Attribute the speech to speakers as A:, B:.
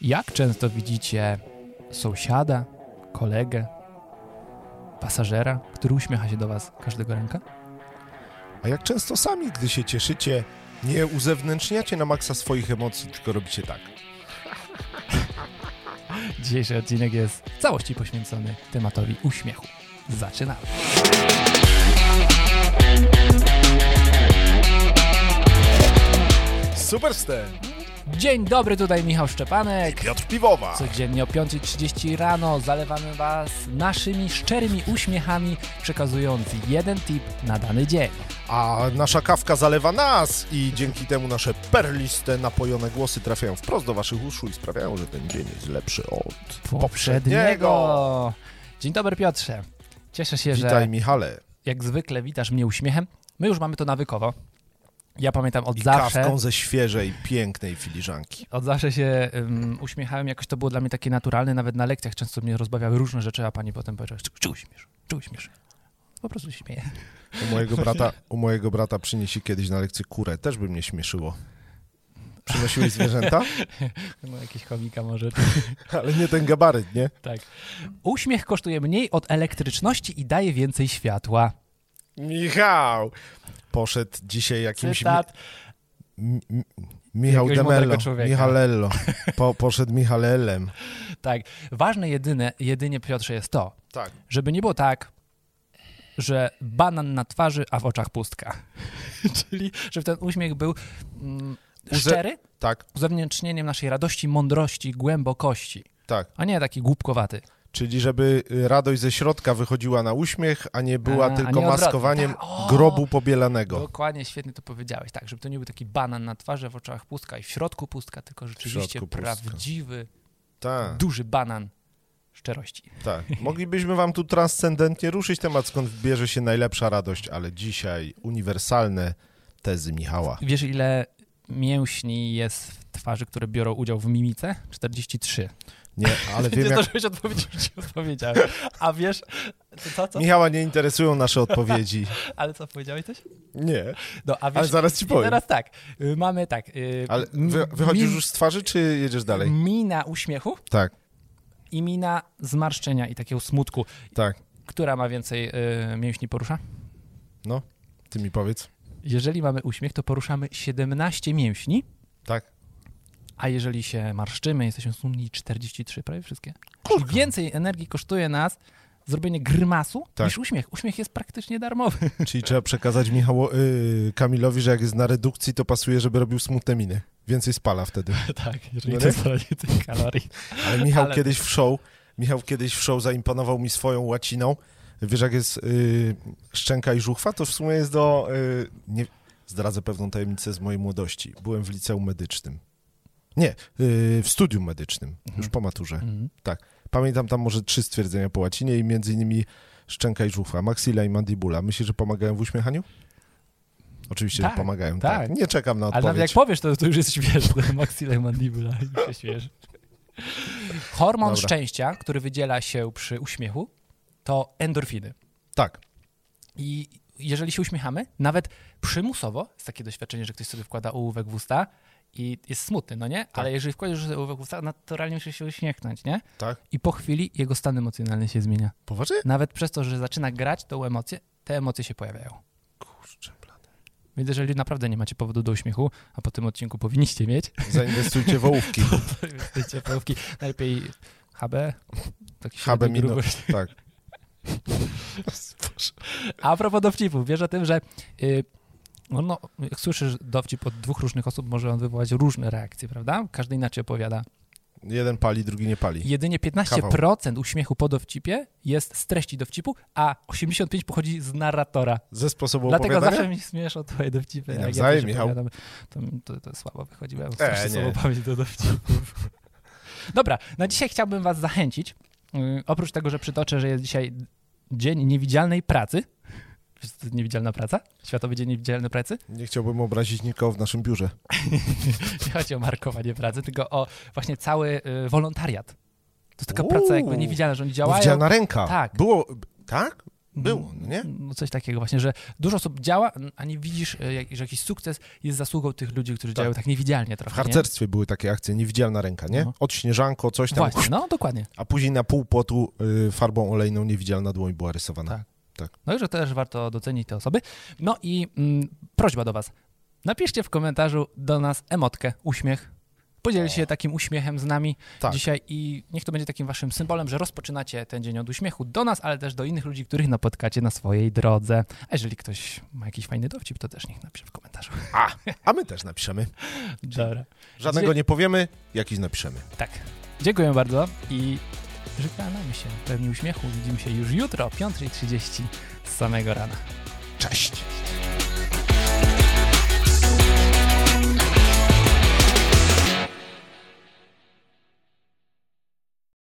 A: Jak często widzicie sąsiada, kolegę, pasażera, który uśmiecha się do Was każdego ranka?
B: A jak często sami, gdy się cieszycie, nie uzewnętrzniacie na maksa swoich emocji, tylko robicie tak.
A: Dzisiejszy odcinek jest w całości poświęcony tematowi uśmiechu. Zaczynamy!
B: Superster!
A: Dzień dobry, tutaj Michał Szczepanek.
B: Piotr Piwowa!
A: Codziennie o 5.30 rano zalewamy Was naszymi szczerymi uśmiechami, przekazując jeden tip na dany dzień.
B: A nasza kawka zalewa nas i dzięki temu nasze perliste, napojone głosy trafiają wprost do waszych uszu i sprawiają, że ten dzień jest lepszy od...
A: Poprzedniego! Dzień dobry, Piotrze. Cieszę się,
B: Witaj
A: że
B: Michale!
A: jak zwykle witasz mnie uśmiechem. My już mamy to nawykowo. Ja pamiętam od
B: I
A: zawsze.
B: kawką ze świeżej, pięknej filiżanki.
A: Od zawsze się um, uśmiechałem, jakoś to było dla mnie takie naturalne, nawet na lekcjach często mnie rozbawiały różne rzeczy, a pani potem powiedziała, "Czy- czy uśmiesz, czy uśmiesz. Po prostu się śmieję.
B: U mojego brata, u mojego brata przynieśli kiedyś na lekcję kurę, też by mnie śmieszyło. Przynosiłeś zwierzęta?
A: No jakiś chomika może,
B: Ale nie ten gabaryt, nie?
A: tak. Uśmiech kosztuje mniej od elektryczności i daje więcej światła.
B: Michał! Poszedł dzisiaj jakimś... mi-
A: Cytat.
B: M- M- Michał
A: Jakiegoś mądrego
B: Demello,
A: człowieka.
B: Michalello. Po, poszedł Michalelem.
A: Tak. Ważne jedyne, jedynie, Piotrze, jest to,
B: Tak.
A: żeby nie było tak, że banan na twarzy, a w oczach pustka. Czyli, żeby ten uśmiech był mm,
B: Uze-
A: szczery,
B: Tak,
A: uzewnętrznieniem naszej radości, mądrości, głębokości,
B: tak.
A: a nie taki głupkowaty.
B: Czyli żeby y, radość ze środka wychodziła na uśmiech, a nie była
A: A, a
B: tylko
A: nie odwrotnie.
B: maskowaniem
A: Tak, o!
B: grobu pobielanego.
A: Dokładnie, świetnie to powiedziałeś. Tak, żeby to nie był taki banan na twarzy, a w oczach pustka i w środku pustka, tylko rzeczywiście
B: środku pustka.
A: prawdziwy,
B: Tak,
A: duży banan szczerości.
B: tak. Moglibyśmy wam tu transcendentnie ruszyć temat, skąd bierze się najlepsza radość, ale dzisiaj uniwersalne tezy Michała.
A: Wiesz, ile mięśni jest w twarzy, które biorą udział w mimice? 43.
B: Nie, ale wiem
A: nie
B: jak...
A: zdążyłeś odpowiedzieć, już ci odpowiedziałem. A wiesz, to co, co?
B: Michała nie interesują nasze odpowiedzi.
A: Ale co, powiedziałeś coś?
B: Nie,
A: No, a wiesz,
B: ale zaraz ci
A: i
B: powiem.
A: teraz tak, y, mamy tak. y,
B: Ale
A: m-
B: wy, wychodzisz
A: mi- Mm.
B: już z twarzy, czy jedziesz dalej?
A: Mina uśmiechu
B: Tak,
A: i mina zmarszczenia i takiego smutku.
B: tak.
A: Która ma więcej y, mięśni porusza?
B: No, ty mi powiedz.
A: Jeżeli mamy uśmiech, to poruszamy 17 mięśni,
B: Tak.
A: a jeżeli się marszczymy, jesteśmy sumni 43, prawie wszystkie. Czyli więcej energii kosztuje nas zrobienie grymasu
B: Tak.
A: niż uśmiech. Uśmiech jest praktycznie darmowy.
B: Czyli trzeba przekazać Michało, y, Kamilowi, że jak jest na redukcji, to pasuje, żeby robił smutne miny. Więcej spala wtedy.
A: tak, jeżeli
B: jeżeli No
A: to
B: chce nie?
A: straci tych kalorii.
B: Ale Michał
A: Ale-
B: kiedyś w show, Michał kiedyś w show zaimponował mi swoją łaciną. Wiesz, jak jest y, szczęka i żuchwa, to w sumie jest do... Y, nie, zdradzę pewną tajemnicę z mojej młodości. Byłem w liceum medycznym. Nie, y, w studium medycznym, już po maturze.
A: Mhm.
B: Tak. Pamiętam tam może trzy stwierdzenia po łacinie i między innymi szczęka i żuchwa, maxilla i mandibula. Myślisz, że pomagają w uśmiechaniu? Oczywiście,
A: Tak,
B: że pomagają,
A: tak.
B: tak. Nie czekam na
A: Ale nawet jak powiesz,
B: odpowiedź.
A: to, to już jesteś wiesz, to maxilla i mandibula, już się śmiesz. Hormon
B: Dobra.
A: szczęścia, który wydziela się przy uśmiechu, to endorfiny.
B: Tak,
A: I jeżeli się uśmiechamy, nawet przymusowo, jest takie doświadczenie, że ktoś sobie wkłada ołówek w usta i jest smutny, no nie? Ale jeżeli wkładasz sobie ołówek w usta, naturalnie musisz się uśmiechnąć, nie?
B: tak.
A: I po chwili jego stan emocjonalny się zmienia.
B: Poważnie?
A: Nawet przez to, że zaczyna grać tą emocję, te emocje się pojawiają.
B: Kurczę, blade.
A: Więc jeżeli naprawdę nie macie powodu do uśmiechu, a po tym odcinku powinniście mieć,
B: Zainwestujcie w ołówki.
A: to inwestujcie w ołówki. Najlepiej HB. Taki
B: HB
A: średniej
B: minus,
A: grubości.
B: tak.
A: A propos dowcipów, wiesz o tym, że y, no, no, jak słyszysz dowcip od dwóch różnych osób, może on wywołać różne reakcje, prawda? Każdy inaczej opowiada.
B: Jeden pali, drugi nie pali.
A: Jedynie 15% uśmiechu po dowcipie jest z treści dowcipu, a 85% pochodzi z narratora.
B: Ze sposobu
A: Dlatego
B: opowiadania?
A: zawsze mi śmieszą twoje dowcipy.
B: Nie,
A: jak ja
B: nawzajem,
A: coś
B: Michał.
A: opowiadam, To, mi- to, to słabo wychodzi, bo ja mam strasznie
B: E, nie.
A: słabą pamięć do dowcipów. Dobra, na dzisiaj chciałbym was zachęcić. Yy, oprócz tego, że przytoczę, że jest dzisiaj Dzień Niewidzialnej Pracy. Wiesz, co to jest Niewidzialna Praca? Światowy Dzień Niewidzialnej Pracy.
B: Nie chciałbym obrazić nikogo w naszym biurze.
A: Nie chodzi o markowanie pracy, tylko o właśnie cały y, wolontariat. To jest taka
B: Uuu.
A: praca jakby niewidzialna, że oni działają.
B: Widziana ręka.
A: Tak.
B: Było... Tak? Było, no nie?
A: No coś takiego właśnie, że dużo osób działa, a nie widzisz, e, jak- że jakiś sukces jest zasługą tych ludzi, którzy działają tak niewidzialnie
B: W
A: trochę. nie?
B: harcerstwie były takie akcje, niewidzialna ręka, nie?
A: No.
B: Odśnieżanko, coś tam,
A: Właśnie, no dokładnie.
B: a później na pół płotu y, farbą olejną niewidzialna dłoń była rysowana.
A: Tak. No i że też warto docenić te osoby. No i mm, prośba do was. Napiszcie w komentarzu do nas emotkę, uśmiech. Podzielcie się takim uśmiechem z nami
B: Tak.
A: dzisiaj i niech to będzie takim waszym symbolem, że rozpoczynacie ten dzień od uśmiechu do nas, ale też do innych ludzi, których napotkacie na swojej drodze. A jeżeli ktoś ma jakiś fajny dowcip, to też niech napisze w komentarzu.
B: A,
A: Tak.
B: a my też napiszemy.
A: Dobra.
B: Żadnego nie powiemy, jakiś napiszemy.
A: Tak. Dziękuję bardzo i żegnamy się pełni uśmiechu. Widzimy się już jutro o 5.30 z samego rana.
B: Cześć!